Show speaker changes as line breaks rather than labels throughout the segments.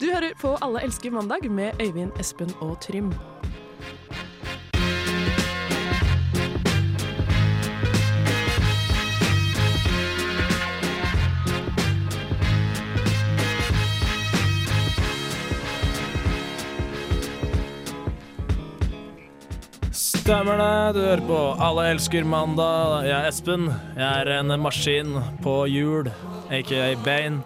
Du hører på Alle elsker mandag med Øyvind, Espen og Trym.
Stemmer det. Du hører på Alle elsker mandag. Jeg er Espen. Jeg er en maskin på hjul, aka Bane.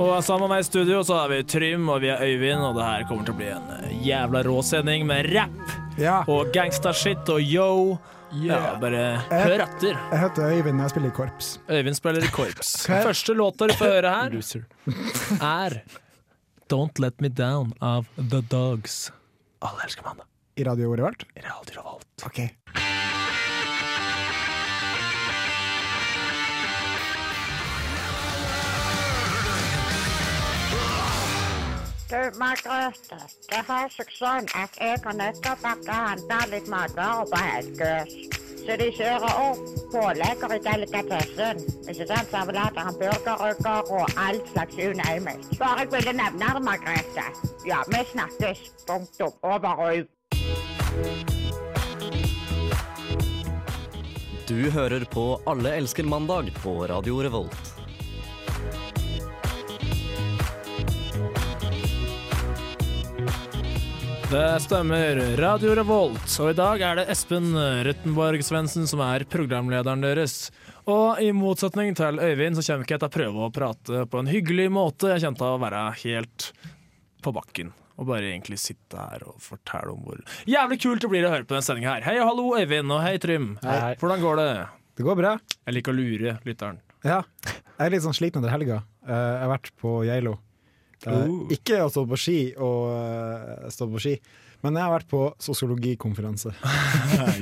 Og sammen med meg i studio så har vi Trym og vi er Øyvind, og det her kommer til å bli en jævla rå sending med rap
Ja,
og gangstashit og yo. Ja, bare hør etter.
jeg heter Øyvind, jeg spiller i korps.
Øyvind spiller i korps. Første låta du får høre her, er Don't Let Me Down av The Dogs. Alle elsker mandag.
I Radio Orevert.
I reality revolt.
Ok.
Du, Margrethe, det har seg sånn at jeg har nettopp vært og handla litt matvarer på Helgøs. Så de kjører opp pålegger i delikatessen. Ikke sant? Servelater, hamburgerrygger og alt slags unøyelig. Bare jeg ville nevne det, Margrethe. Ja, vi snakkes. Punktum. Over og ut.
Du hører på Alle elsker mandag på Radio Revolt.
Det stemmer. Radio Revolt. Og i dag er det Espen Røttenborg Svendsen som er programlederen deres. Og i motsetning til Øyvind så kommer ikke jeg til å prøve å prate på en hyggelig måte. Jeg kommer til å være helt på bakken og bare egentlig sitte her og fortelle om hvor jævlig kult det blir å høre på denne sendinga her. Hei og hallo, Øyvind, og hei, Trym.
Hei.
Hvordan går det?
Det går bra.
Jeg liker å lure lytteren.
Ja. Jeg er litt sånn sliten etter helga. Eh, Jeg har vært på Geilo. Eh,
Oh.
Ikke å stå på ski og eh, stå på ski, men jeg har vært på sosiologikonferanse.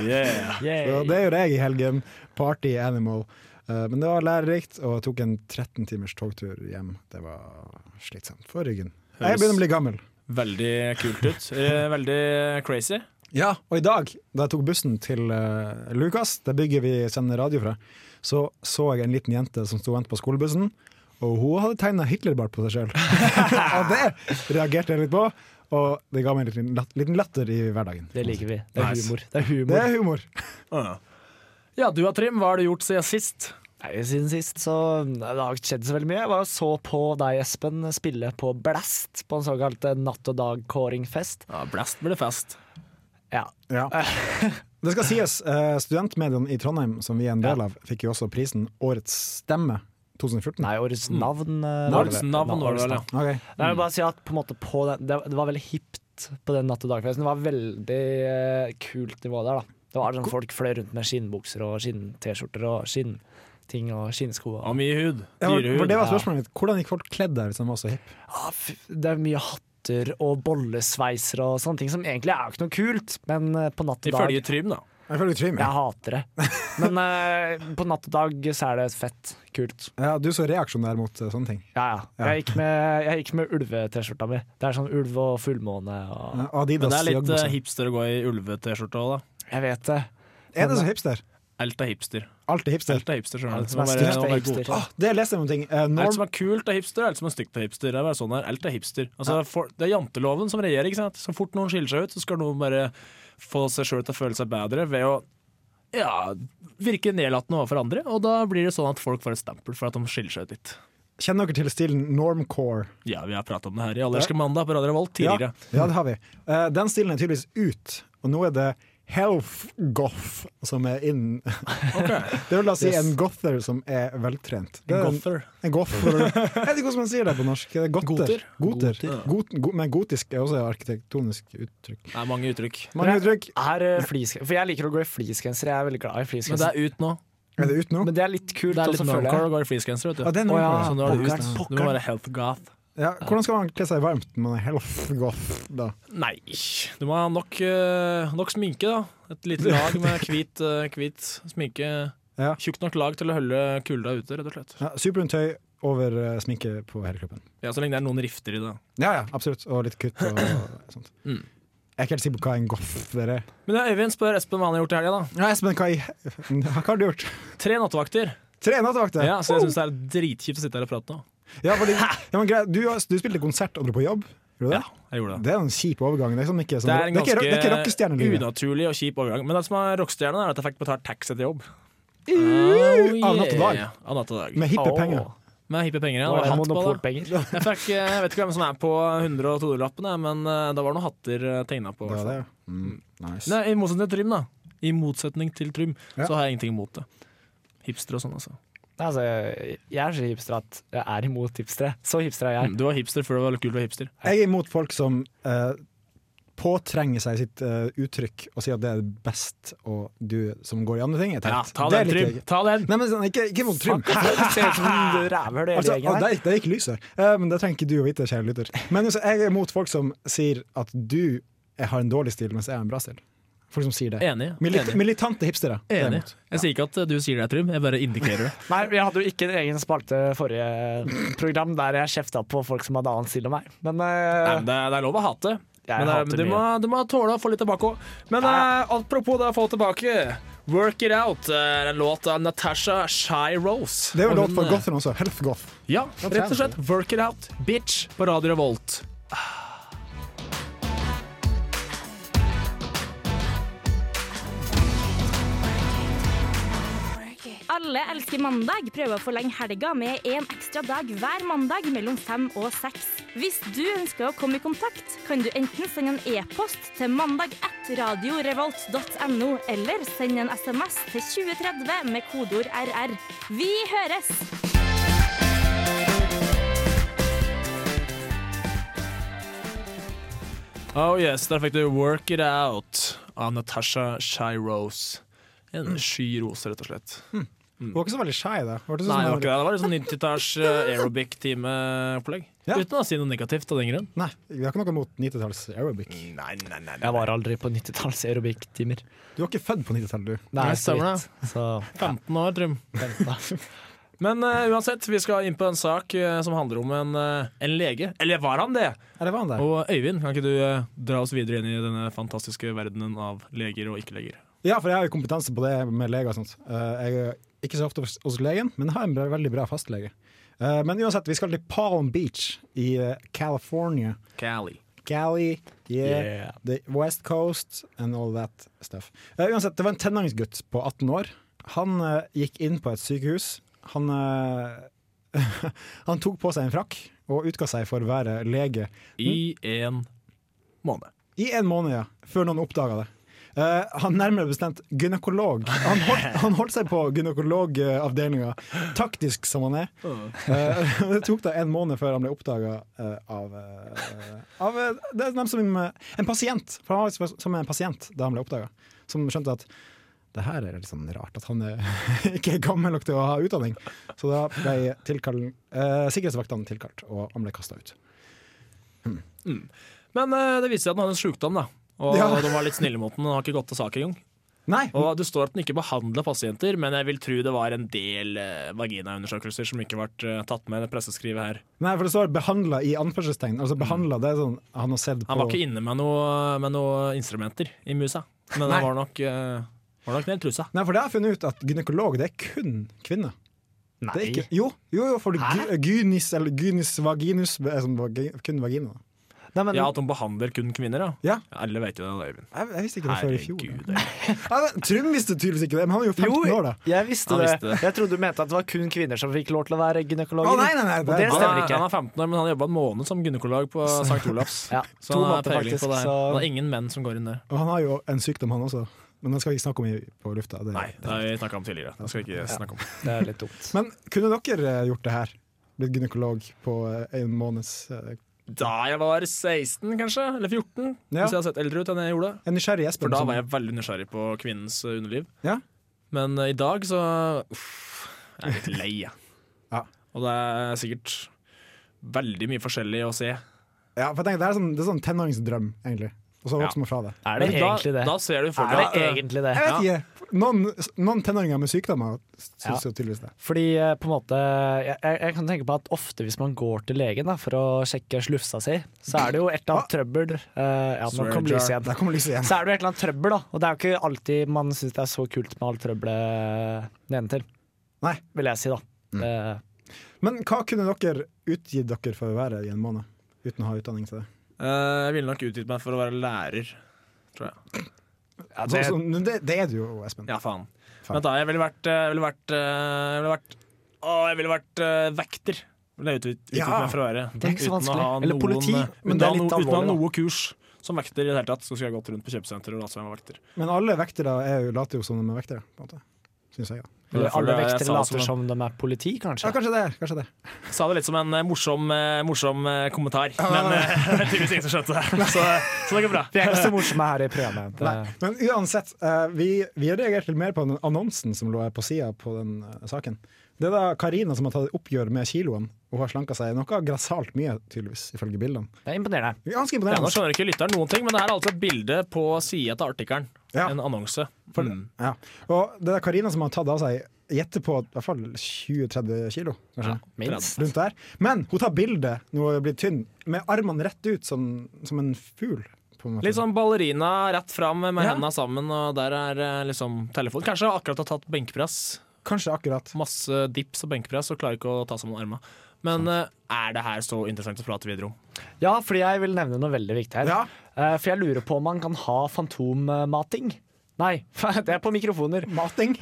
Yeah.
Så det gjorde jeg i helgen. Party animal. Eh, Men det var lærerikt, og jeg tok en 13 timers togtur hjem. Det var slitsomt for ryggen. Jeg begynner å bli gammel.
Veldig kult ut. Eh, Veldig crazy.
Ja, og i dag, da jeg tok bussen til eh, Lukas, det bygget vi sender radio fra, så så jeg en liten jente som sto og ventet på skolebussen, og hun hadde tegna Hitlerbart på seg sjøl. og det reagerte jeg litt på, og det ga meg en liten, lat liten latter i hverdagen.
Det liker vi. Det er
Nice.
humor. Det er humor.
Det er humor.
Ah. Ja, du da, Trym. Hva har du gjort siden sist?
Nei, siden sist så Det har ikke skjedd så veldig mye. Jeg var og så på deg, Espen, spille på Blast på en såkalt eh, natt og dag-kåringfest.
Ja, Blast blir det fest.
Ja.
Ja. Det skal sies, eh, studentmediene i Trondheim, som vi er en del av, fikk jo også prisen Årets stemme 2014.
Nei, årets navn. eh, var det
Mm. Årets
vel?
navn var det vel, ja. Mm.
Ok.
Nei, jeg vil bare si at på en måte på den, det, det var veldig hipt på den natt og dag-festen. Det var veldig eh, kult nivå der, da. Det var sånn Folk fløy rundt med skinnbukser og skinn-T-skjorter og skinnting og skinnsko.
Av mye hud.
Ja, for- for
Dyrehud.
det var spørsmålet mitt. Hvordan gikk folk kledd der hvis de var så hipp?
Ah, fy- det er mye hatter og bollesveiser og sånne ting som egentlig er jo ikke noe kult, men eh, på natt og dag
Ifølge Trym, da.
Ifølge Trym.
Jeg
Ja.
hater det. Men eh, på natt og dag så er det fett. Kult.
ja, du så reaksjonær mot eh, sånne ting.
Ja, ja. Jeg gikk med, jeg gikk med ulve-T-skjorta mi. Det er sånn ulv og fullmåne og
Ja, Adidas
Men det er litt
joggebukse.
eh, hipster å gå i ulve-T-skjorte òg, da.
Jeg vet det.
Er det så hipster?
Alt er hipster.
Alt er hipster.
Alt er hipster, skjønner
Alt
du.
som er
Man bare-
stygt er
man bare
hipster.
godtar.
Ah, det leste jeg om ting. Eh,
Alt som
norm,
er kult er hipster, alt som er stygt er hipster. Det er bare sånn her. Alt er hipster. Altså, for, det er janteloven som regjerer. ikke sant? Så fort noen skiller seg ut, så skal noen bare få seg sjøl til å føle seg bedre ved å ja, virke nedlatende overfor andre. Og da blir det sånn at folk får et stempel for at de skiller seg ut litt.
kjenner dere til stilen normcore?
Ja, vi har prata om det her i Allerske mandag på Radio Revolt
Ja,
tidligere.
ja, det har vi. Eh, den stilen er tydeligvis ut, og nå er det health goth som er inn. Det vil da si en gother som er veltrent. Det er en-
Gother.
En gother. Jeg vet ikke hvordan man sier det på norsk. Det er Gotter. Goter.
Goter.
Got, go, men gotisk er også et arkitektonisk uttrykk.
Det er mange uttrykk.
Mange
Men
uttrykk.
Er, eh, flis, for jeg liker å gå i fleecegenser. Jeg er veldig glad i
Men det
fleecegenser.
er ut nå.
Er det ut nå?
Men det er litt kult.
Det er litt
også, føler jeg.
normcore å gå i fleecegenser, vet du.
Ja, det er
Å,
normcore.
ja.
Så nå er det ut.
Pokkeren,
Du må være health goth.
Ja, hvordan skal man kle seg varmt når man er health goth, da?
Nei, du må ha nok, eh, nok sminke, da. Et lite lag med hvit, eh, hvit sminke.
Ja.
Tjukt nok lag til å holde kulda ute, rett og slett.
Ja, Superbrunt tøy over eh, sminke på hele kroppen.
Ja, Så lenge det er noen rifter i det.
Ja, ja, absolutt. Og litt kutt og sånt.
Mm.
Jeg er ikke helt sikker på hva en goff er.
Men ja, Øyvind spør Espen hva han har gjort i helga, da.
Nei, Espen, hva, i- hva har du gjort?
Tre nattevakter.
Tre nattevakter! Oh!
Ja, så jeg syns det er dritkjipt å sitte her og prate nå.
Ja, fordi, ja, men greit, du, du spilte konsert og dro på jobb, gjorde du det?
Ja, jeg gjorde det.
Det er en kjip overgang. Det er, sånn ikke, sånn,
Det er en
det er ikke, det er ikke
ganske
rockestjernelivet.
unaturlig og kjip overgang. Men det som er rockestjerna, er at jeg fikk betalt taxi til jobb.
av natt og dag.
Oh, Yeah, Av natt og dag.
Med hippe penger.
Med hippe penger. Ja.
Nå
Det var
er det
hatt på, da.
monopolpenger.
Jeg, fikk, eh, jeg vet ikke hvem som er på 100- og 200-lappene, men eh, det var noen hatter tegna på. i
Det
hvert fall.
var det, ja. Mm, nice.
Nei, I motsetning til Trym, da. I motsetning til Trym,
Ja.
så har jeg ingenting imot det. Hipster og sånn, altså.
Nei, Altså, jeg er så hipster at jeg er imot hipstere. Så hipster er
Mm,
jeg.
Du var hipster før det var kult å være hipster.
Jeg er imot folk som eh, påtrenger seg sitt eh, uttrykk og sier at det er best, og du som går i andre ting, er teit.
Ja, ta
Det
den,
liker
Trym!
jeg.
Ta den!
Nei, men sånn, ikke, ikke mot Trym.
Du altså. ser ut som en rævhøl i hele
Altså,
gjengen
og
her.
der, der gikk lyset. Eh, men det trenger ikke du å vite, kjære lytter. Men altså, jeg er imot folk som sier at du eh, har en dårlig stil, mens jeg har en bra stil. Folk som sier det.
Enig.
Mili
Enig.
militante hipstere. det er jeg
Enig.
imot.
Jeg sier ikke at eh, du sier det, Trym, jeg bare indikerer det.
Nei, jeg hadde jo ikke en egen spalte forrige program der jeg kjefta på folk som hadde annen stil enn meg. Men
Nei,
eh,
men det, er- det er lov å hate.
Jeg
Men det,
hater
du,
mye.
må, du må tåle å få litt tilbake òg. Men eh, apropos det å få tilbake. 'Work It Out' eh, er en låt av Natasha Shy Rose.
Det er jo
Og
låt
hun,
for
eh,
Gotham også. Health Goth.
Ja,
Hva
rett og
trener
slett. 'Work It Out', bitch, på Radio Revolt.
Alle elsker mandag. Prøv å forlenge helga med en ekstra dag hver mandag mellom fem og seks. Hvis du ønsker å komme i kontakt, kan du enten sende en e-post til mandag1radiorevolt.no, eller send en SMS til 2030 med kodeord RR. Vi høres!
Oh yes, der fikk du 'Work It Out' av Natasha Shy Rose. En sky rose, rett og slett.
Du var ikke så veldig shy, da. Var det
mm. Nei, det var ikke det.
sånn-
Det var litt sånn 90-talls eh, aerobic-timeopplegg.
Ja.
Uten å si noe negativt av den grunn.
Nei, vi har ikke noe mot 90-talls aerobic.
jeg var aldri på 90-talls aerobic-timer.
Du var ikke født på 90-tallet, du.
Nei,
Nei,
så
stemmer
vidt. Så
15 år, Trym.
vent da.
Men eh, uansett, vi skal inn på en sak eh, som handler om en, eh, en lege. Eller var han det?
Eller var han der?
Og Øyvind, kan ikke du eh, dra oss videre inn i denne fantastiske verdenen av leger og ikke-leger?
Ja, for jeg har jo kompetanse på det med leger og sånt. Eh, jeg er ikke så ofte hos- hos legen, men har en bra- veldig bra fastlege. Eh, men uansett, vi skal til Palm Beach i eh, California.
Cali.
Cali, yeah,
Yeah.
the West Coast and all that stuff. Eh, uansett, det var en tenåringsgutt på 18 år. Han eh, gikk inn på et sykehus. Han, eh, han tok på seg en frakk og utga seg for å være lege
I en måned.
i en måned, ja. Før noen oppdaga det. Eh, han nærmere bestemt gynekolog. Han holdt, han holdt seg på gynekologavdelinga, taktisk som han er. Eh, det tok da en måned før han ble oppdaga av, eh, av eh, Det er dem som eh, en pasient. For han var liksom som en pasient da han ble oppdaga, som skjønte at det her er litt sånn rart, at han er ikke er gammel nok til å ha utdanning. Så da ble tilkall, eh, sikkerhetsvaktene tilkalt, og han ble kasta ut.
Men eh, det viste seg at han hadde en sjukdom, da. Og
Ja.
de var litt snille mot den, og han har ikke gått til sak engang.
Nei,
Og det står at den ikke behandler pasienter, men jeg vil tro det var en del eh, vaginaundersøkelser som ikke ble eh, tatt med i det presseskrivet her.
Nei, for det står 'behandla' i anførselstegn. Altså behandla, det er sånn han har sett på
Han var ikke inne med noen med noe instrumenter i musa, men
Nei.
han var nok, eh, var nok nede i trusa.
Nei, for det har jeg funnet ut at gynekolog, det er kun kvinner.
Nei.
Det er ikke, jo, jo, jo, for gy, gynis eller gynis vaginus er sånn vagi- kun vagina.
Nei, men,
Ja, At de behandler kun kvinner, ja.
Ja,
Alle vet jo det, da, Øyvind.
jeg, jeg visste ikke det før i fjor.
Herregud. Øyvind.
Ja, men Trym visste tydeligvis ikke det, men han er jo 15 år, da.
jeg visste
Han
det.
visste det.
Jeg trodde du mente at det var kun kvinner som fikk lov til å være
Å,
gynekologer.
nei, nei, nei,
Og
det-
det
Han
stemmer
er,
ikke.
han er 15 år, men han har jobba en måned som gynekolog på St. Olavs.
Ja,
Så
to
han har
måneder
peiling
faktisk,
på det. her.
så-
Det er ingen menn som går inn der.
Og han har jo en sykdom, han også. Men den skal vi ikke snakke om i, på lufta. Det.
Nei, det har vi snakka om tidligere. Det skal vi ikke snakke om.
Det er litt dumt.
Men kunne dere eh, gjort det her? Blitt gynekolog på eh, en måneds eh,
Da jeg var 16, kanskje, eller 14,
Ja.
hvis jeg hadde sett eldre ut enn jeg gjorde.
En nysgjerrig
For
Espen.
da
som-
var jeg veldig nysgjerrig på kvinnens eh, underliv.
Ja?
Men eh, i dag så uff, jeg er litt lei. jeg.
Ja.
Og det er sikkert veldig mye forskjellig å se.
ja, for jeg tenker, det er sånn, det er sånn tenåringsdrøm, egentlig. Og så
Ja.
vokser man fra det.
Er det
Men da,
egentlig det?
Da ser du for
Er
deg
det
at, eh,
egentlig det?
Jeg vet ikke. Noen, noen tenåringer med sykdommer
Ja.
syns jo tydeligvis det.
Fordi eh, på en måte jeg, jeg jeg kan tenke på at ofte hvis man går til legen da, for å sjekke slufsa si, så er det jo et eller annet trøbbel. eh, ja, nå
Swear
kom
jar.
lyset igjen.
Der kommer lyset igjen.
Så er det jo et eller annet trøbbel, da. Og det er jo ikke alltid man syns det er så kult med alt trøbbelet nedentil.
Nei. Mm.
vil jeg si, da. Eh,
Men hva kunne dere utgitt dere for å være i en måned? Uten å ha utdanning til det.
Eh, jeg ville nok utgitt meg for å være lærer, tror jeg.
ja,
Så,
det,
så, Sånn men det, det er du jo, Espen.
Ja, faen.
Faen.
Vent, da. Jeg ville vært eh, Jeg ville vært, eh, jeg ville vært Å, jeg ville vært eh, vekter. Ville jeg utgitt, utgitt
Ja,
meg for å være.
det er ikke
Uten
så
å
vanskelig.
ha
Eller politi,
noen, eh, uten
men det
å
er
ha
litt
noe- Uten å ha
alvorlig, da.
noe kurs som vekter i det hele tatt, så skulle jeg gått rundt på kjøpesenteret og latt som jeg var vekter.
Men alle vektere er jo, later jo som de er vektere, på en måte. Syns jeg. da.
eller
Derfor
alle
jeg sa
vektere
det som
later
en-
som de er politi, kanskje.
Ja, kanskje det. kanskje det
Jeg sa det litt som en eh, morsom, eh, morsom eh, kommentar,
Ah.
men eh, det er tydeligvis ingen som skjønte det. Så, så det går bra.
Vi er ikke så morsomme her i programmet. Det,
Men uansett, eh, vi, vi reagerte litt mer på den annonsen som lå på sida på den eh, saken. Det er da Karina som har tatt oppgjør med kiloen, og har slanka seg noe grassat mye, tydeligvis, ifølge bildene.
det er imponerende.
Ganske
Ja, nå
imponerende.
skjønner ikke lytteren noen ting, men det her er altså et bilde på sida til artikkelen.
Ja.
En annonse. Mm.
Ja. Og det er Karina som har tatt av seg gjetter på i hvert fall 20-30 kilo. Kanskje.
Minst.
Rundt der. Men hun tar bilde når hun er blitt tynn, med armene rett ut som, som en fugl. på en måte.
Litt sånn ballerina rett fram med
Ja.
henda sammen, og der er eh, liksom telefon. Kanskje akkurat har tatt benkpress.
Kanskje akkurat.
Masse dips og benkpress, og klarer ikke å ta sammen armene. Men eh, er det her så interessant å prate videre om?
Ja, fordi jeg vil nevne noe veldig viktig her.
Ja.
Eh, For jeg lurer på om man kan ha fantommating. Nei, det er på mikrofoner.
Mating.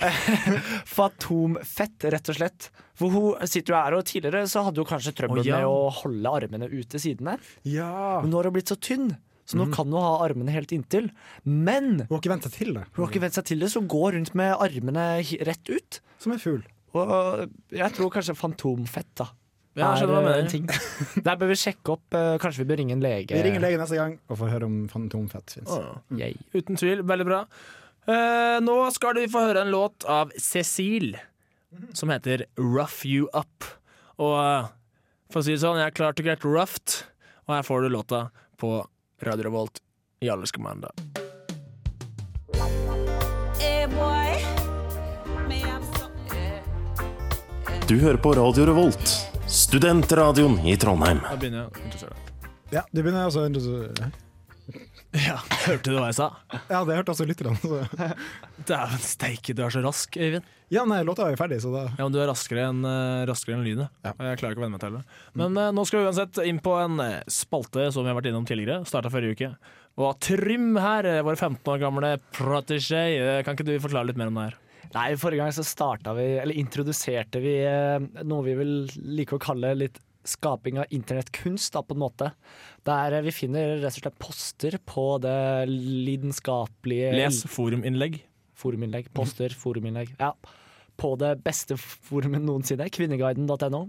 Fantomfett, rett og slett. For hun sitter jo her, og tidligere så hadde hun kanskje trøbbel
Å, ja.
med å holde armene ute sidene.
Ja.
Men nå har hun blitt så tynn, så
Mhm.
nå kan hun ha armene helt inntil. Men
Hun har ikke venta til det,
hun har ikke vent seg til det, så hun går rundt med armene hi- rett ut.
som en fugl.
Og jeg tror kanskje fantomfett da
Ja, jeg skjønner hva du
er en
mener.
ting. Der bør vi sjekke opp. eh, Kanskje vi bør ringe en lege.
Vi ringer legen neste gang og får høre om fantomfett fins.
Yay.
Uten tvil. Veldig bra. Eh, nå skal du få høre en låt av Cecil som heter Rough You Up. Og eh, for å si det sånn, jeg er klar til å get roughed, og her får du låta på Radio Revolt i alle skal mandag.
Du hører på Radio Revolt, studentradioen i Trondheim.
Da begynner jeg å interessere deg.
Ja, du begynner også å interessere-
Ja, hørte du hva jeg sa?
Ja, det hørte også lytterne. så-
Dæven steike, du er så rask, Øyvind.
Ja, nei, låta er jo ferdig, så da
Ja, men Du er raskere enn uh, raskere enn lynet.
Ja.
Og Jeg klarer ikke å venne meg til det. Men eh, nå skal vi uansett inn på en eh, spalte som vi har vært innom tidligere. Starta forrige uke. Og Trym her, eh, vår 15 år gamle protégé, eh, kan ikke du forklare litt mer om det her?
Nei, forrige gang så starta vi, eller introduserte vi eh, noe vi vil like å kalle litt skaping av internettkunst, da, på en måte. Der eh, vi finner rett og slett poster på det lidenskapelige
Les foruminnlegg.
Foruminnlegg. Poster, foruminnlegg. Ja. På det beste forumet noensinne, kvinneguiden.no.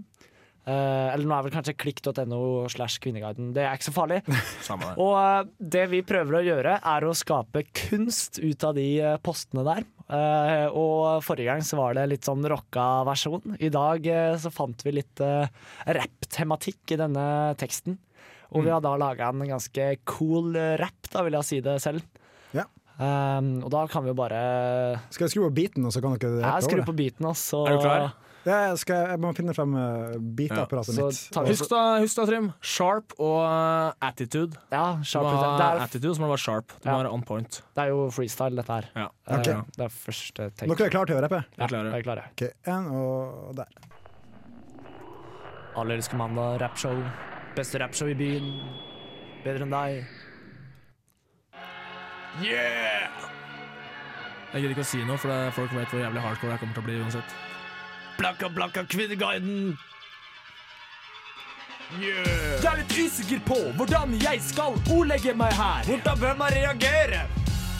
Eh, eller nå er vel kanskje klikk.no slash kvinneguiden. Det er ikke så farlig.
Samme det.
Og eh, det vi prøver å gjøre, er å skape kunst ut av de eh, postene der. Eh, Og forrige gang så var det litt sånn rocka versjon. I dag eh, så fant vi litt eh, rap-tematikk i denne teksten. Og vi har da laga en ganske cool eh, rap, da vil jeg si det selv.
Ja.
Um, og da kan vi jo bare
skal jeg skru på beaten, og så kan dere
Jeg
rappe
skrur
over det.
på beaten, altså.
Er du klar?
Ja, jeg, skal, jeg må finne frem eh, beatapparatet
Ja. Så
mitt.
tar vi-
Husk da, husk da, Trym. Sharp og eh, attitude.
Ja,
Du
sharp,
må
det,
ha
er,
attitude, så må du være sharp. Du må
Ja.
være on point.
det er jo freestyle, dette her.
Ja.
Eh,
Ok.
Det er første take.
Dere er klare til å rappe?
Ja,
klarer.
jeg er klare.
Ok, en og der.
Alle elsker mandag, rappshow. Beste rappshow i byen. Bedre enn deg.
Jeg gidder ikke å si noe, for det- folk vet hvor jævlig hardcore jeg kommer til å bli uansett.
Blakka, blakka, Kvinneguiden!
Jeg er litt usikker på hvordan jeg skal ordlegge meg her.
Hvordan bør man reagere?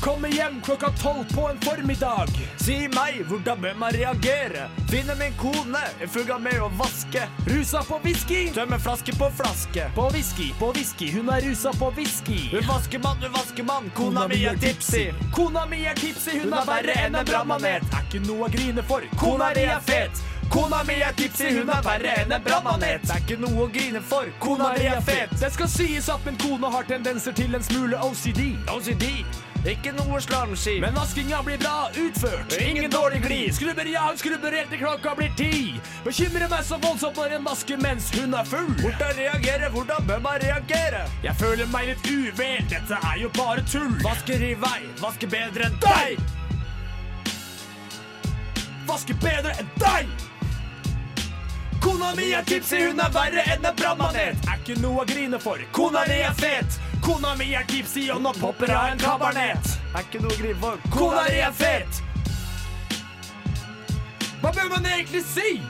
Kommer hjem klokka tolv på en formiddag.
Si meg, hvordan bør man reagere? Finne min kone, en fugga med å vaske.
Rusa på whisky.
Tømme flaske på flaske.
På whisky, på whisky. Hun er rusa på whisky.
Du vaskemann, du vaskemann, kona mi er tipsy.
Kona mi er tipsy, hun,
Hun
er verre enn en brannmanet. Er ikke noe å grine for, kona di er fet. Kona mi er tipsy, hun er verre enn en brannmanet.
Det er ikke noe å grine for, kona mi er fet.
Det skal sies at min kone har tendenser til en smule OCD.
OCD, ikke noe slamskiv.
Men vaskinga blir bra utført. Ingen dårlig glid. Skrubber ja, hun skrubber helt til klokka blir ti. Bekymrer meg så voldsomt når en vasker mens hun er full.
Hvordan reagere, hvordan bør man reagere?
Jeg føler meg litt uvel, dette er jo bare tull.
Vasker i vei, vasker bedre enn deg!
vaske bedre enn deg! Kona mi er tipsy, hun er verre enn en brannmanet. Er ikke noe å grine for, kona mi er fet. Kona mi er tipsy, og nå popper av en kabarnet. Er ikke noe å grine for, kona mi er fet. Hva bør man egentlig si?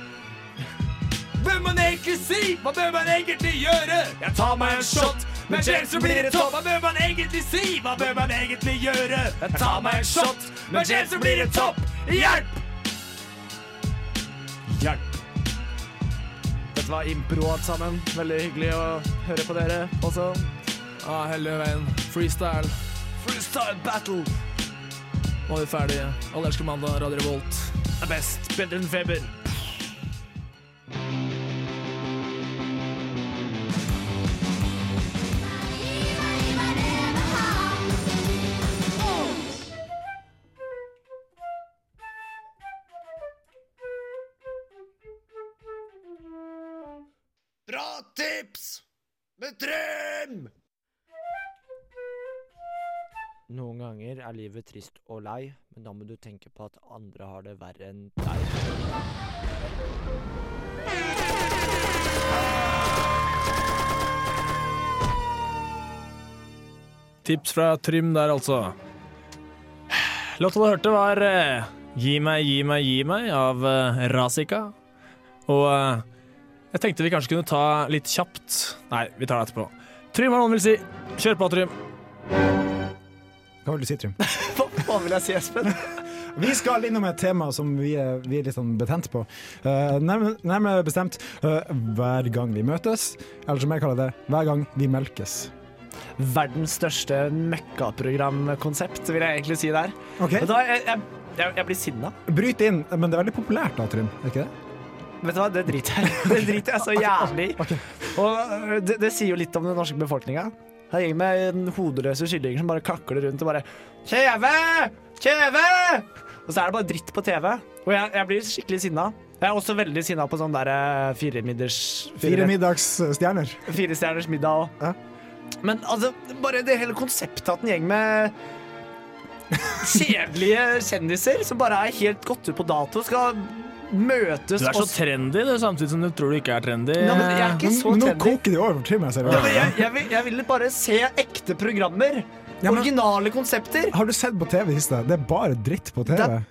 Bør man egentlig si? Hva bør man egentlig gjøre? Jeg tar meg en shot, men skjer så blir det topp. Hva bør man egentlig si? Hva bør man egentlig gjøre? Jeg tar meg en shot, men skjer så blir det topp. Hjelp! Hjelp.
Dette var impro alt sammen. Veldig hyggelig å høre på dere også.
Ja, hele veien. Freestyle.
Freestyle battle
Nå er vi ferdige. Alle elsker mandag, Radio Revolt.
er best. Bedre enn feber. Bra tips med Trym!
Noen ganger er livet trist og lei, men da må du tenke på at andre har det verre enn deg.
Tips fra Trym der, altså. Låta du hørte, var eh, Gi meg, gi meg, gi meg av eh, Razika. Og eh, jeg tenkte vi kanskje kunne ta litt kjapt Nei, vi tar det etterpå. Trym, hva noen vil si? Kjør på, Trym.
Hva vil du si, Trym?
Hva vil jeg si, Espen?
Vi skal innom et tema som vi er, vi er litt sånn betent på. Eh, nærmere, nærmere bestemt eh, hver gang vi møtes, eller som jeg kaller det, hver gang vi melkes.
Verdens største møkkaprogramkonsept, vil jeg egentlig si der.
Ok,
Vet du hva, jeg, jeg, jeg, jeg blir sinna.
Bryt inn, men det er veldig populært da, Trym. er ikke det?
Vet du hva, det driter jeg Det driter jeg så jævlig i. Og øh, det, det sier jo litt om den norske befolkninga. Her gjenger med en hodeløse kyllinger som bare kakler rundt og bare Kjeve! Kjeve! Og så er det bare dritt på TV. Og jeg, jeg blir skikkelig sinna. Jeg er også veldig sinna på sånn derre firemidders
Fire middagsstjerner.
Firestjerners middag òg.
Ja.
Men altså, bare det hele konseptet at en gjeng med kjedelige kjendiser som bare er helt gått ut på dato, skal møtes
Du er så trendy, du, samtidig som du tror du ikke er trendy.
Nei, men jeg er ikke så
Eh, Men nå
trendy.
koker de over for Trym. jeg ser
Ja,
det.
men jeg, jeg, vil, jeg ville bare se ekte programmer.
Ja, men- Ah,
Originale konsepter.
Har du sett på TV i det siste? Det er bare dritt på TV.
Det er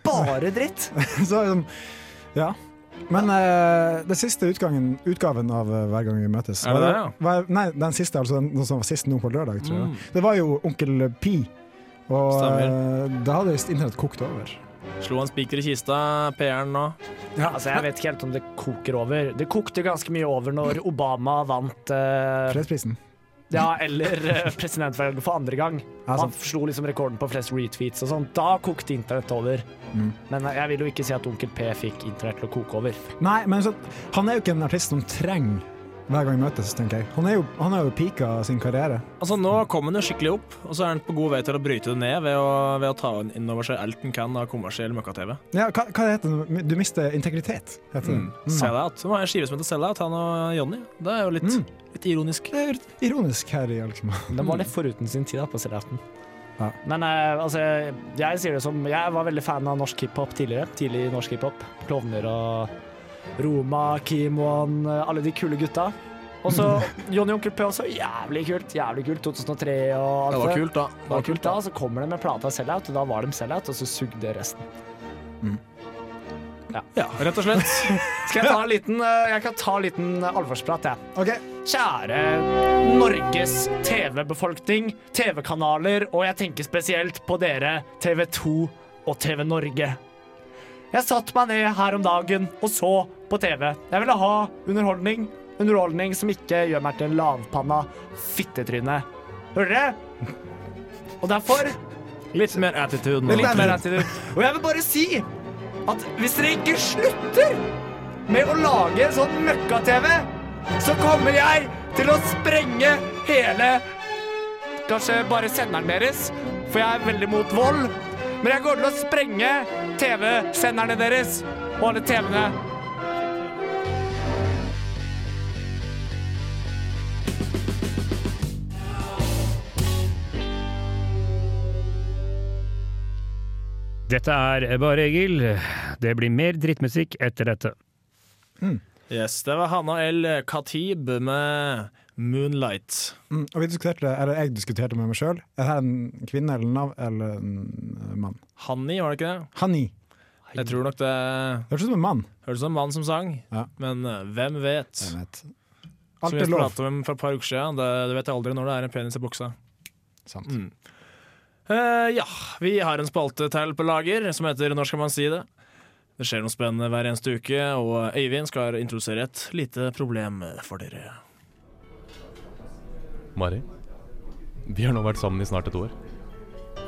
bare dritt.
Så liksom, ja. Men eh, den siste utgangen, utgaven av eh, Hver gang vi møtes
Er det
var-
det, ja? Mm.
var, Nei, den siste, altså den, den som var sist nå på lørdag, tror jeg. Det var jo Onkel Pi. Og
Stemmer.
eh, da hadde visst internett kokt over.
Slo han spiker i kista, PR-en nå.
Altså, Jeg vet ikke helt om det koker over. Det kokte ganske mye over når Obama vant eh,
Fredsprisen.
Ja, eller eh, presidentvalget for andre gang.
Altså,
Han slo liksom rekorden på flest retweets og sånn. Da kokte internett over.
Mm.
Men eh, jeg vil jo ikke si at Onkel P fikk internett til å koke over.
nei, men så, han er jo ikke en artist som trenger Hver gang vi møtes, tenker jeg. Han er jo, han er jo pika sin karriere.
Altså Nå kom han jo skikkelig opp, og så er han på god vei til å bryte det ned ved å, ved å ta inn over seg alt han kan av kommersiell møkka-TV.
Ja, hva, hva heter det? Du mister integritet, heter det. Mm.
Sellout. Nå har jeg en skive som heter Sellout, han og Jonny. Det er jo litt,
Mm.
litt ironisk.
Det er litt ironisk her i Alkmaar.
Den var litt foruten sin tid da, på Seljauten.
Ja.
Men eh, altså, jeg sier det som Jeg var veldig fan av norsk hiphop tidligere. Tidlig norsk hiphop. Klovner og Roma, Kimoen, alle de kule gutta. Og så Johnny Onkel P også. Jævlig kult. Jævlig kult. 2003 og alt
Det var kult, da.
Det var kult da, og Så kommer de med plata Seljaut, og da var de Seljaut, og så sugde resten.
Ja, rett og slett.
Skal jeg ta en liten, eh, jeg kan ta en liten alvorsprat, jeg.
Ok,
Kjære Norges TV-befolkning, TV-kanaler, og jeg tenker spesielt på dere, TV 2 og TV Norge. Jeg satte meg ned her om dagen og så på TV. Jeg ville ha underholdning. Underholdning som ikke gjør meg til en lavpanna fittetryne. Hører dere? Og derfor
Litt mer attitude nå.
Litt mer attitude. Og jeg vil bare si at hvis dere ikke slutter med å lage sånn møkka-TV, så kommer jeg til å sprenge hele Kanskje bare senderen deres, for jeg er veldig mot vold. Men jeg går til å sprenge TV-senderne deres og alle TV-ene.
Dette er Bare Egil. Det blir mer drittmusikk etter dette.
Yes, det var Hanna L. Khatib med 'Moonlight'.
Mm, og vi diskuterte, eller jeg diskuterte med meg sjøl. Er dette en kvinne eller en, nav, eller en eh, mann?
Hanni, var det ikke det?
Hani.
Jeg tror nok det
Høres ut som en mann.
hørtes ut som en mann som sang,
Ja.
men eh, hvem vet?
Jeg vet.
Som
Alt
vi
er lov.
pratet om for et par uker siden, det, du vet aldri når det er en penis i buksa.
Sant.
Mm. Eh, ja, vi har en spalte til på lager som heter 'Når skal man si det?' Det skjer noe spennende hver eneste uke, og Øyvind skal introdusere et lite problem for dere.
Mari, vi har nå vært sammen i snart et år.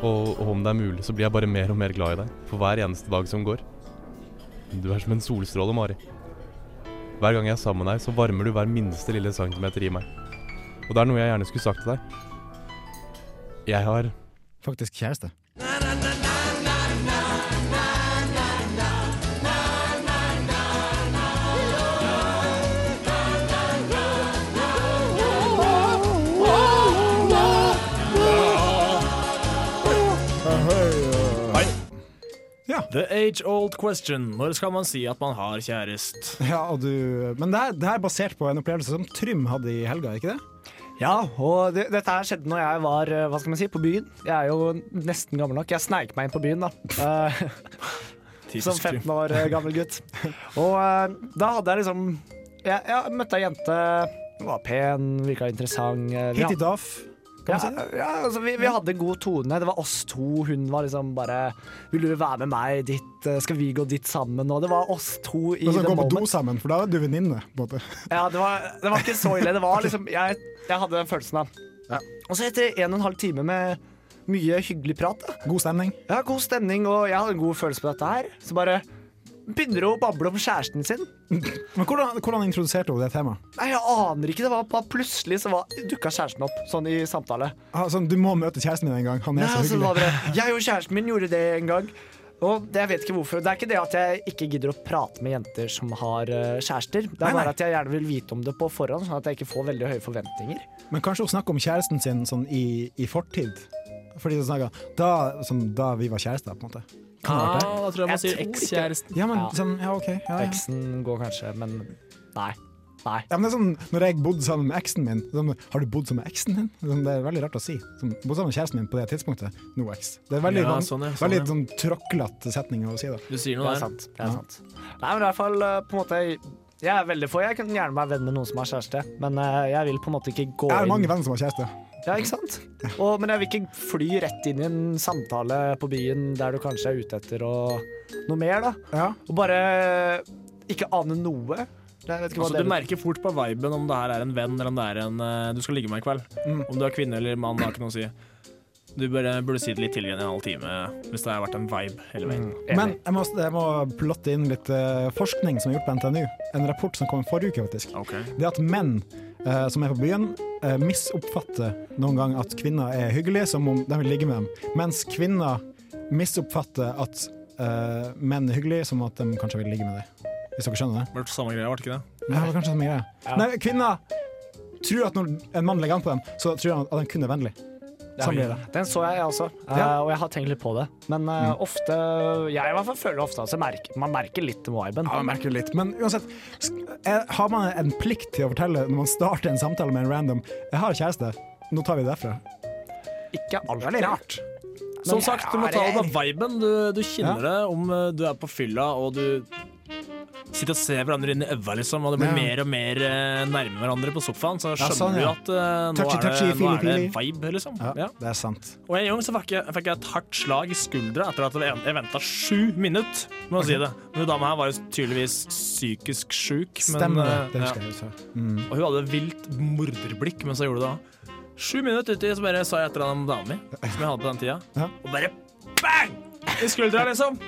Og, og om det er mulig, så blir jeg bare mer og mer glad i deg for hver eneste dag som går. Du er som en solstråle, Mari. Hver gang jeg er sammen med deg, så varmer du hver minste lille centimeter i meg. Og det er noe jeg gjerne skulle sagt til deg. Jeg har
Faktisk kjæreste.
The age old question. Når skal man si at man har kjæreste?
Ja, og du, men det her, det her er basert på en opplevelse som Trym hadde i helga, ikke det?
Ja, og det, dette her skjedde når jeg var eh, hva skal man si, på byen. Jeg er jo nesten gammel nok. Jeg sneik meg inn på byen, da. Eh, som
Typisk Trym.
15 år eh, gammel gutt. Og eh, da hadde jeg liksom Jeg, jeg møtte ei jente. Hun var pen, virka interessant. eh,
Hit
vi
i
hadde-
daf. Kan
ja,
man si det?
ja, altså, vi, vi hadde god tone. Det var oss to. Hun var liksom bare 'Vil du være med meg dit? Eh, Skal vi gå dit sammen?' Og det var oss to i
Og så
the
gå på
moment.
do sammen, for da er du venninne. på en måte.
Ja, det var, det var ikke så ille. Det var liksom Jeg, jeg hadde den følelsen av. Og så etter en og en halv time med mye hyggelig prat, da.
God stemning.
Ja, god stemning, og jeg hadde en god følelse på dette her. Så bare begynner hun å bable om kjæresten sin.
Men hvordan, hvordan introduserte hun det temaet?
Nei, jeg aner ikke. Det var bare plutselig så var- dukka kjæresten opp, sånn i samtale.
Ah, sånn, du må møte kjæresten din en gang. Han
Nei,
er så
altså, det var
hyggelig.
bare, jeg og kjæresten min gjorde det en gang. Og det, jeg vet ikke hvorfor. Det er ikke det at jeg ikke gidder å prate med jenter som har eh, kjærester. Det
Nei,
er
nei.
bare at jeg gjerne vil vite om det på forhånd, sånn at jeg ikke får veldig høye forventninger.
Men kanskje hun snakker om kjæresten sin sånn i, i fortid? Fordi hun snakker da, som da vi var kjærester, på en måte. Kan det ha vært det?
Ah, da tror jeg man
Jeg
sier
tror ikke det.
ekskjæresten.
Ja, men
Ja.
sånn, ja, OK. Ja,
Ah,
ja.
Eksen går kanskje, men nei. Nei.
Ja, men det er sånn, når jeg bodde sammen med eksen min sånn, Har du bodd sammen med eksen din? Sånn, det er veldig rart å si. Sånn, bodd sammen med kjæresten min på det tidspunktet. No ex. Det er veldig,
Ja,
van-
sånn, ja, sånn,
veldig
ja.
sånn tråklete setning å si, da.
Du sier
Det
noe
er
der.
sant. Det er sant. Nei, men i hvert fall eh, på en måte Jeg er veldig for Jeg kunne gjerne være venn med noen som har kjæreste, men eh, jeg vil på en måte ikke gå
Jeg har mange
inn
venner som har kjæreste.
Ja, ikke sant? Og, men jeg vil ikke fly rett inn i en samtale på byen der du kanskje er ute etter og noe mer, da.
Ja.
Og bare ikke ane noe. Jeg vet ikke hva
Altså, du
dere-
merker fort på viben om det her er en venn eller om det er en eh, du skal ligge med i kveld.
Mm.
Om du er kvinne eller mann, det har ikke noe å si. Du burde, burde si det litt tidligere enn en halv time hvis det har vært en vibe hele veien.
Mm. Enig.
Men jeg må, jeg må plotte inn litt eh, forskning som er gjort på NTNU. En rapport som kom forrige uke, faktisk.
Ok.
Det at menn eh, som er på byen, eh, misoppfatter noen gang at kvinner er hyggelige, som om de vil ligge med dem. Mens kvinner misoppfatter at eh, menn er hyggelige, som at de kanskje vil ligge med dem. Hvis dere skjønner det?
Var det samme greia, var det ikke det?
Ja, det var kanskje samme greie. Nei, kvinner tror at når en mann legger an på dem, så tror han at han kun er vennlig. Sånn blir det.
Den så jeg, jeg også, Eh,
Ja. Mm.
og jeg har tenkt litt på det. Men eh, ofte Jeg i hvert fall føler ofte at jeg merker, man merker litt viben.
Ja, man merker litt. Men uansett, sk- er- har man en plikt til å fortelle når man starter en samtale med en random 'Jeg har kjæreste, nå tar vi det derfra'?
Ikke alltid.
Veldig rart.
Som sagt, du må ta det på viben. Du, du kjenner det om eh, du er på fylla og du sitter og ser hverandre inn i øva, liksom, og det blir
Ja.
mer og mer eh, nærme hverandre på sofaen, så skjønner
sånn,
du
ja.
at eh, nå,
Touchy,
er det,
touchy,
nå er det
feely, feely.
vibe, liksom.
Ja,
Ja.
Det er sant.
Og jeg, Jung, så fikk jeg, fikk jeg et hardt slag i skuldra etter at jeg- jeg venta sju minutter med å si det. Men hun dama her var jo tydeligvis psykisk sjuk.
Stemmer det.
eh,
Det
ja.
husker jeg. også. Mm.
Og hun hadde vilt morderblikk mens hun gjorde det. da. Sju minutter uti så bare sa jeg et eller annet om dama mi, som jeg hadde på den tida.
Ja.
Og bare bang! I skuldra, liksom.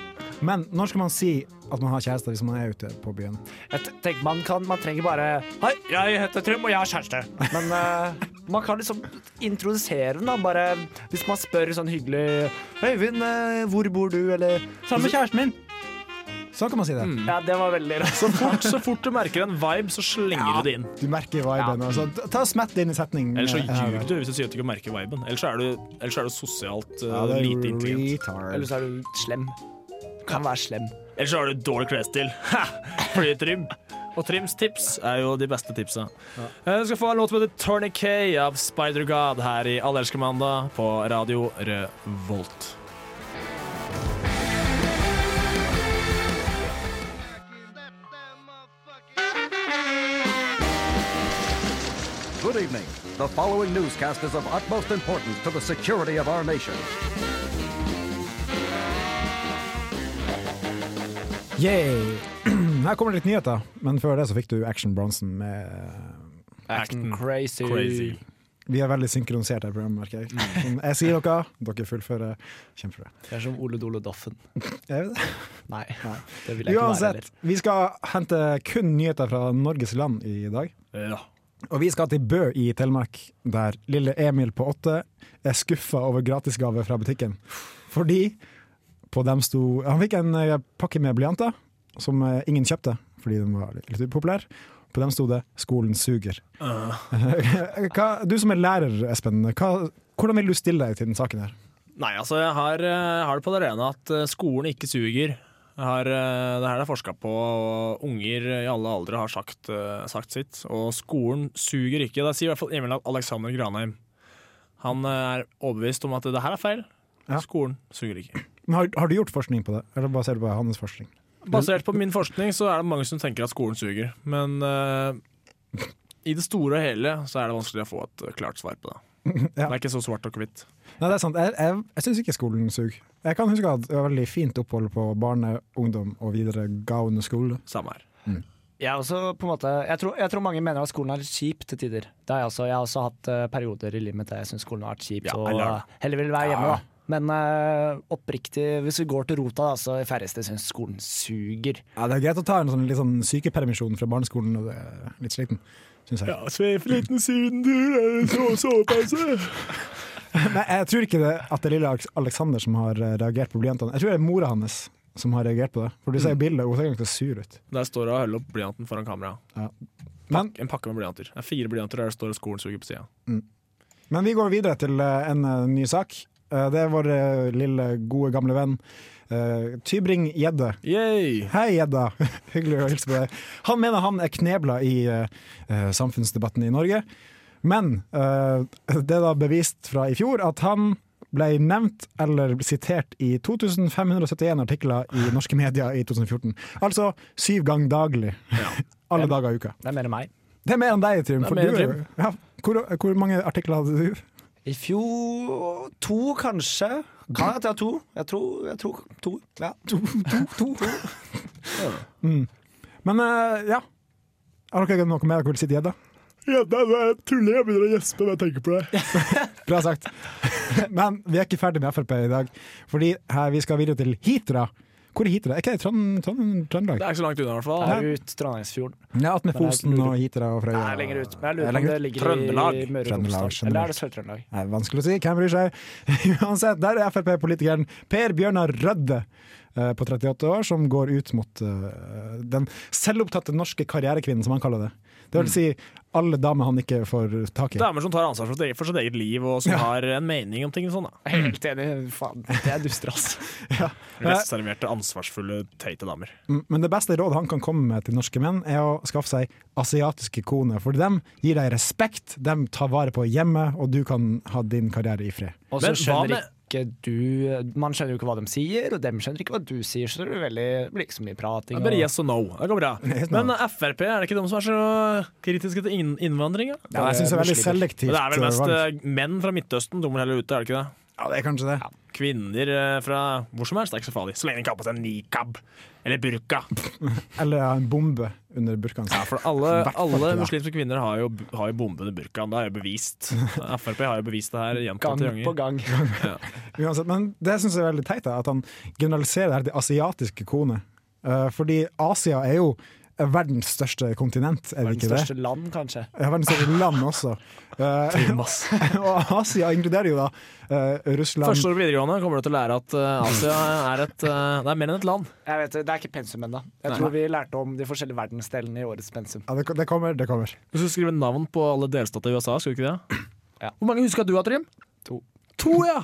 Men når skal man si at man har kjæreste hvis man er ute på byen?
Jeg t- tenker man, kan, man trenger bare Hei, jeg heter Trym, og jeg har kjæreste. Men eh, man kan liksom introdusere den. da bare Hvis man spør sånn hyggelig Øyvind, eh, hvor bor du? Eller Mm. Sammen med kjæresten min.
Sånn kan man si det.
Ja, det var veldig rart.
Så fort, så fort du merker en vibe, så slenger du det inn.
Du merker viben.
Ja.
Altså, ta og Smett det inn i setningen.
Eller så
her, da.
ljuger du hvis du sier at du ikke merker viben. Eller så er du, ellers er du sosialt eh,
Ja, det er
lite intelligent.
retard.
Eller så er du slem. Kan være slem.
Ellers så har du dårlig klesstil. Ha! Fordi trim. Og Trims tips er jo de beste tipsa. Eh, Du skal få en låt som heter 'Tourniquet' av Spider God her i Allelskemandag på Radio Revolt.
Good evening. The following newscast is of utmost importance to the security of our nation.
Yay! Her kommer det litt nyheter, men før det så fikk du Action Bronson med
Acting crazy.
Vi er veldig synkronisert i programmet, merker jeg.
Mm.
Sånn, Jeg sier dere, dere fullfører. Kjempebra. Eh,
Det er som Ole Dole Doffen.
Jeg vet det.
Nei, det vil jeg ikke være
Uansett,
heller.
vi skal hente kun nyheter fra Norges land i dag.
Ja.
Og vi skal til Bø i Telemark, der lille Emil på åtte er skuffa over gratisgave fra butikken. Fordi på dem sto Han fikk en eh, pakke med blyanter som eh, ingen kjøpte fordi den var litt upopulær. På dem sto det 'Skolen suger'. hva, du som er lærer, Espen, hva, hvordan vil du stille deg til den saken her?
Nei, altså jeg har, eh, har det på det rene at eh, skolen ikke suger. Jeg har, eh, det her er forska på, og unger i alle aldre har sagt, eh, sagt sitt. Og skolen suger ikke. Det sier i hvert fall Emil Alexander Granheim. Han eh, er overbevist om at det her er feil. Skolen suger ikke.
Men Har, har du gjort forskning på det, eller baserer du på hans forskning?
Basert på min forskning så er det mange som tenker at skolen suger. Men eh, i det store og hele så er det vanskelig å få et eh, klart svar på det. Det
Ja.
er ikke så svart og hvitt.
Nei, det er sant. Jeg, jeg, jeg syns ikke skolen suger. Jeg kan huske at det var veldig fint opphold på barne, ungdom og videre gaune skole.
Samme her.
Jeg, er også, på en måte, jeg, tror, jeg tror mange mener at skolen er litt kjip til tider. Det har jeg, også, jeg har også hatt eh, perioder i livet mitt der jeg syns skolen har vært kjip. og
eller-
eh, heller vil være hjemme,
Ja.
da. Men eh, oppriktig, hvis vi går til rota, da, så de færreste syns skolen suger.
Ja, det er greit å ta en sånn, litt sånn sykepermisjon fra barneskolen når du er litt sliten, syns jeg.
Ja, sveiv liten sydentur, er det så sovepause?
Men jeg tror ikke det, at det er lille Alex- Alexander som har eh, reagert på blyantene. Jeg tror det er mora hans som har reagert på det. For du ser
Mm.
bildet, hun ser ganske sur ut.
Der står det å holde opp blyanten foran kamera.
Ja.
Pakk- en pakke med blyanter. Det er fire blyanter der det står skolen suger på sida.
Men vi går videre til eh, en eh, ny sak. Eh, Det er vår eh, lille, gode, gamle venn eh, Tybring Gjedde. Hei, Gjedda. Hyggelig å hilse på deg. Han mener han er knebla i eh, eh, samfunnsdebatten i Norge. Men eh, det er da bevist fra i fjor at han ble nevnt eller sitert i 2571 artikler i norske medier i 2014. Altså syv ganger daglig. Alle dager i uka.
Det er mer enn meg.
Det er mer enn deg, Trym.
Det er
For
mer
du,
enn
er- ja, hvor, hvor mange artikler hadde du?
I fjor to, kanskje. Kan jeg ta to? Jeg tror, jeg tror to. Ja.
To, to, to. Mm. Men eh, ja. Har dere noe mer dere vil si til gjedda?
Gjedda, nå er jeg tuller. Jeg begynner å gjespe når jeg tenker på det.
Bra sagt. Men vi er ikke ferdig med Frp i dag, fordi her vi skal videre til Hitra. Hvor er Hitra? Er ikke det i Trond- Trond-
Det er
Trøndelag?
ikke så langt unna, i hvert fall.
Det er
ut Trondheimsfjorden.
Ja, Atmed
Men jeg
Fosen
lurer-
og Hitra og Frøya.
Det er lenger ut, men jeg lurer
Er
på om
lenger
det
ut?
ligger i Møre og
Trøndelag
Romsdal. Eller er det
generelt.
Sør-Trøndelag?
Nei, vanskelig å si, hvem bryr seg? Uansett, der er Frp-politikeren Per Bjørnar Rødde eh, på 38 år, som går ut mot eh, den selvopptatte norske karrierekvinnen, som han kaller det. Det vil si alle damer han ikke får tak i.
Damer som tar ansvar for sitt eget- for sitt eget liv, og som
Ja.
har en mening om ting og sånn. da.
Helt enig. Faen, det er duster, ass.
Restserverte, ansvarsfulle, teite damer.
Mm, Men det beste rådet han kan komme med til norske menn, er å skaffe seg asiatiske koner. For dem gir deg respekt, dem tar vare på hjemmet, og du kan ha din karriere i fred.
Og så skjønner ikke du Man skjønner jo ikke hva de sier, og dem skjønner ikke hva du sier, så det blir veldig, det blir ikke så mye prating.
Det er bare
og-
yes og no. Det går bra.
Yes, no.
Men Frp, er det ikke de som er så kritiske til inn innvandring? da?
Ja, jeg synes det er veldig
Men
selektivt,
Det er vel mest
eh,
eh, menn fra Midtøsten de må heller ute, er det ikke det?
Ja, det er kanskje det.
Kvinner eh, fra hvor som helst det er ikke så farlig. Så lenge de ikke har på seg nikab eller burka.
Eller ha en bombe under burkaen sin.
Ja, for alle,
I hvert fall
alle
ikke det.
muslimske kvinner har jo, har jo bombe under burkaen. Det er jo bevist. Frp har jo bevist det her gjentatte
Gang
ganger.
på
Ja.
gang.
Uansett, men det synes jeg er veldig teit, da, at han generaliserer det her til asiatiske koner. Eh, fordi Asia er jo verdens største kontinent, er det
Verdens
ikke det?
største land, kanskje.
Ja, verdens største land også. Eh, og Asia inkluderer jo da eh, Russland
Første år på videregående kommer du til å lære at eh, Asia er et eh, Det er mer enn et land.
Jeg vet, det, det er ikke pensum ennå. Jeg
Nei.
tror vi lærte om de forskjellige verdensdelene i årets pensum.
Ja, det, det kommer, det kommer.
Du skulle skrive navn på alle delstater i USA, skulle du ikke det? Hvor mange husker du, Trym?
To.
To, ja!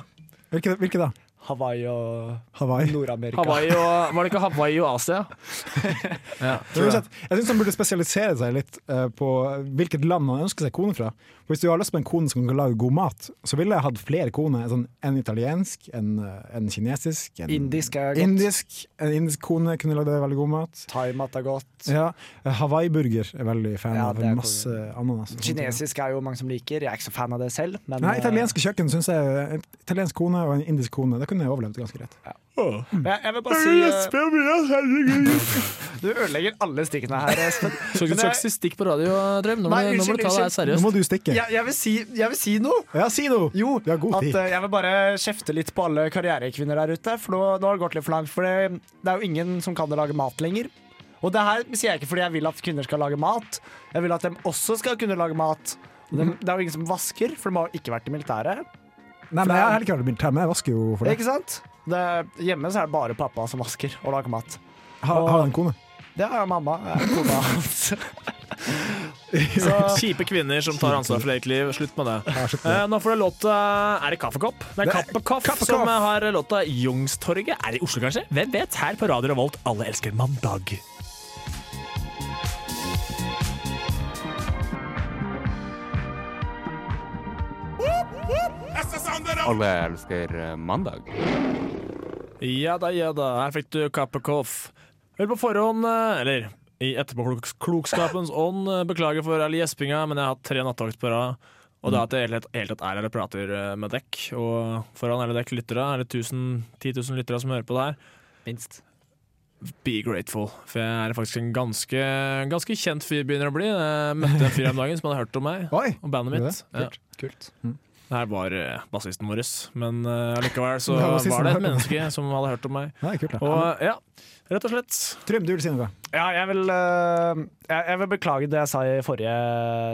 Hvilke, hvilke da?
Hawaii og
Hawaii.
Nord-Amerika.
Hawaii og, var det ikke Hawaii og Asia?
ja, Uansett, jeg syns han burde spesialisere seg litt eh, på hvilket land han ønsker seg kone fra. For hvis du har lyst på en kone som kan lage god mat, så ville jeg hatt flere koner. Sånn, en italiensk, en, eh, en kinesisk en,
Indisk er godt.
indisk, En indisk kone kunne lagd veldig god mat.
Thaimat er godt.
Ja, eh, Hawaii-burger er veldig fan
Ja,
av.
det er
Masse ananas. og sånt.
Kinesisk er jo mange som liker. Jeg er ikke så fan av det selv, men
Nei, italienske kjøkken syns jeg En italiensk kone og en indisk kone, det kunne jeg overlevd ganske greit.
Men Jeg, jeg vil bare si eh, Du ødelegger alle stikkene her, Espen.
Skal ikke
Men jeg-
søke stikk på radio, Drøm. Nå må,
Nei,
du- nå må
unnskyld,
du ta deg
unnskyld.
seriøst.
Nå må du stikke.
Jeg, jeg, vil si, jeg vil si noe.
Ja, si noe!
Jo,
Du har god
at
tid.
eh, jeg vil bare kjefte litt på alle karrierekvinner der ute, for nå, nå har det gått litt for langt. For det, det er jo ingen som kan lage mat lenger. Og det her sier jeg ikke fordi jeg vil at kvinner skal lage mat. Jeg vil at de også skal kunne lage mat. Og dem- det er jo ingen som vasker, for de har jo ikke vært i militæret.
Nei, men jeg har heller ikke vært i militæret, men jeg vasker jo for det.
Ikke sant? Det, hjemme så er det bare pappa som vasker og lager mat.
Har har han en kone?
Det har mamma. er Kona hans.
Kjipe kvinner som tar ansvar for eget liv. Slutt med det.
slutt med det.
Eh, nå får du låta Er det Kaffekopp? Det er
Det er
Kaffekopp
Kaffekopp.
som har låta Youngstorget. Er det i Oslo, kanskje? Hvem vet? Her på Radio Revolt, alle elsker mandag.
Alle elsker eh, mandag.
Ja da, ja da. Her fikk du Kappekoff. Vel på forhånd, eh, eller i etterpåklokskapens ånd, eh, beklager for all gjespinga, men jeg har hatt tre nattevakt på rad. Og det
Mm.
at jeg helt, helt tatt er her og prater eh, med dekk, og foran alle dekk lyttere, er det 1000, 10 000 lyttere som hører på det her.
Minst.
Be grateful, for jeg er faktisk en ganske, ganske kjent fyr begynner å bli. Jeg møtte en fyr her om dagen som hadde hørt om meg og bandet
Gjorde
mitt.
det? Kult. Kult. Mm.
Det her var eh, bassisten vår, men eh, allikevel så
Det var
var
bassisten
det et
som hørte om meg.
menneske som hadde hørt om meg.
Nei, kult, da.
Og ja, rett og slett.
Trym, du vil si noe?
Ja, jeg vil, eh, jeg, jeg vil beklage det jeg sa i forrige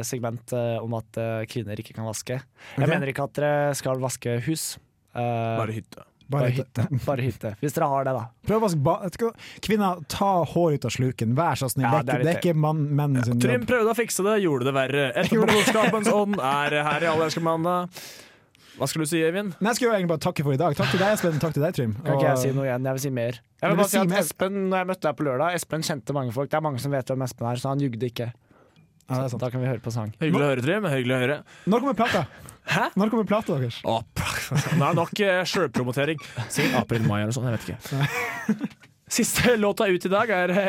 segment eh, om at eh, kvinner ikke kan vaske.
Ok.
Jeg mener ikke at dere skal vaske hus.
Bare hytte.
Bare hytte. Bare hytte. Hvis dere har det, da.
Prøv å vaske ba... vet du hva? Kvinner, ta hår ut av sluken, vær så snill.
Ja,
det, er ikke-
det
det
er
er ikke mann, menn sin
Trym
jobb.
prøvde å fikse det, gjorde det verre. Etterpåklokskapens ånd er her i Alle elsker mandag. Hva skulle du si, Eivind?
Nei, jeg skulle jo egentlig bare takke for i dag. Takk til deg, Espen. Takk til deg, Trym.
Kan ikke jeg si noe igjen? Jeg vil si mer. Jeg
Du
vil
vil
bare si
si
at
mer?
Espen, når jeg møtte deg på lørdag, Espen kjente mange folk. Det er mange som vet hvem Espen er, så han jugde ikke. Så da kan vi høre på sang.
Hyggelig å høre, Trym. Hyggelig å høre.
Når kommer plata?
Hæ?
Når kommer plata deres?
Å, p- Nei, nok eh, sjølpromotering. Sikkert april-mai eller noe sånt, jeg vet ikke. Siste låta ut i dag er eh,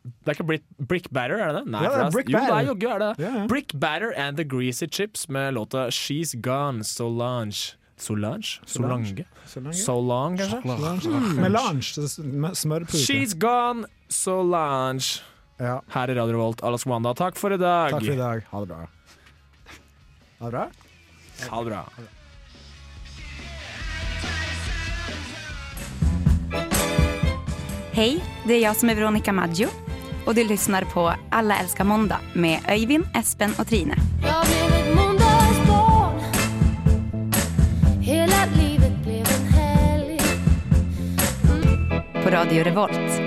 Det er ikke Brick, Brick Batter, er det det? Nei,
Ja, det er
for
Brick
jo, det er
Batter.
jogge, er det det? Brick Batter and The Greasy Chips med låta She's Gone, Solange. Solange? Solange?
Solange.
Solange, kanskje?
Solange. Melange. så s- med Smørpute.
She's Gone, Solange. Her i Radio Revolt, Alas Wanda. Takk for i dag.
Takk for i dag. Ha det bra. Ha det bra.
Ha det bra.
Hej, det är jag som är Veronica Maggio och du lyssnar på Alla älskar måndag med Öyvind, Espen och Trine.
Jag blev ett måndagsbarn Hela livet blev en helg
På Radio Revolt.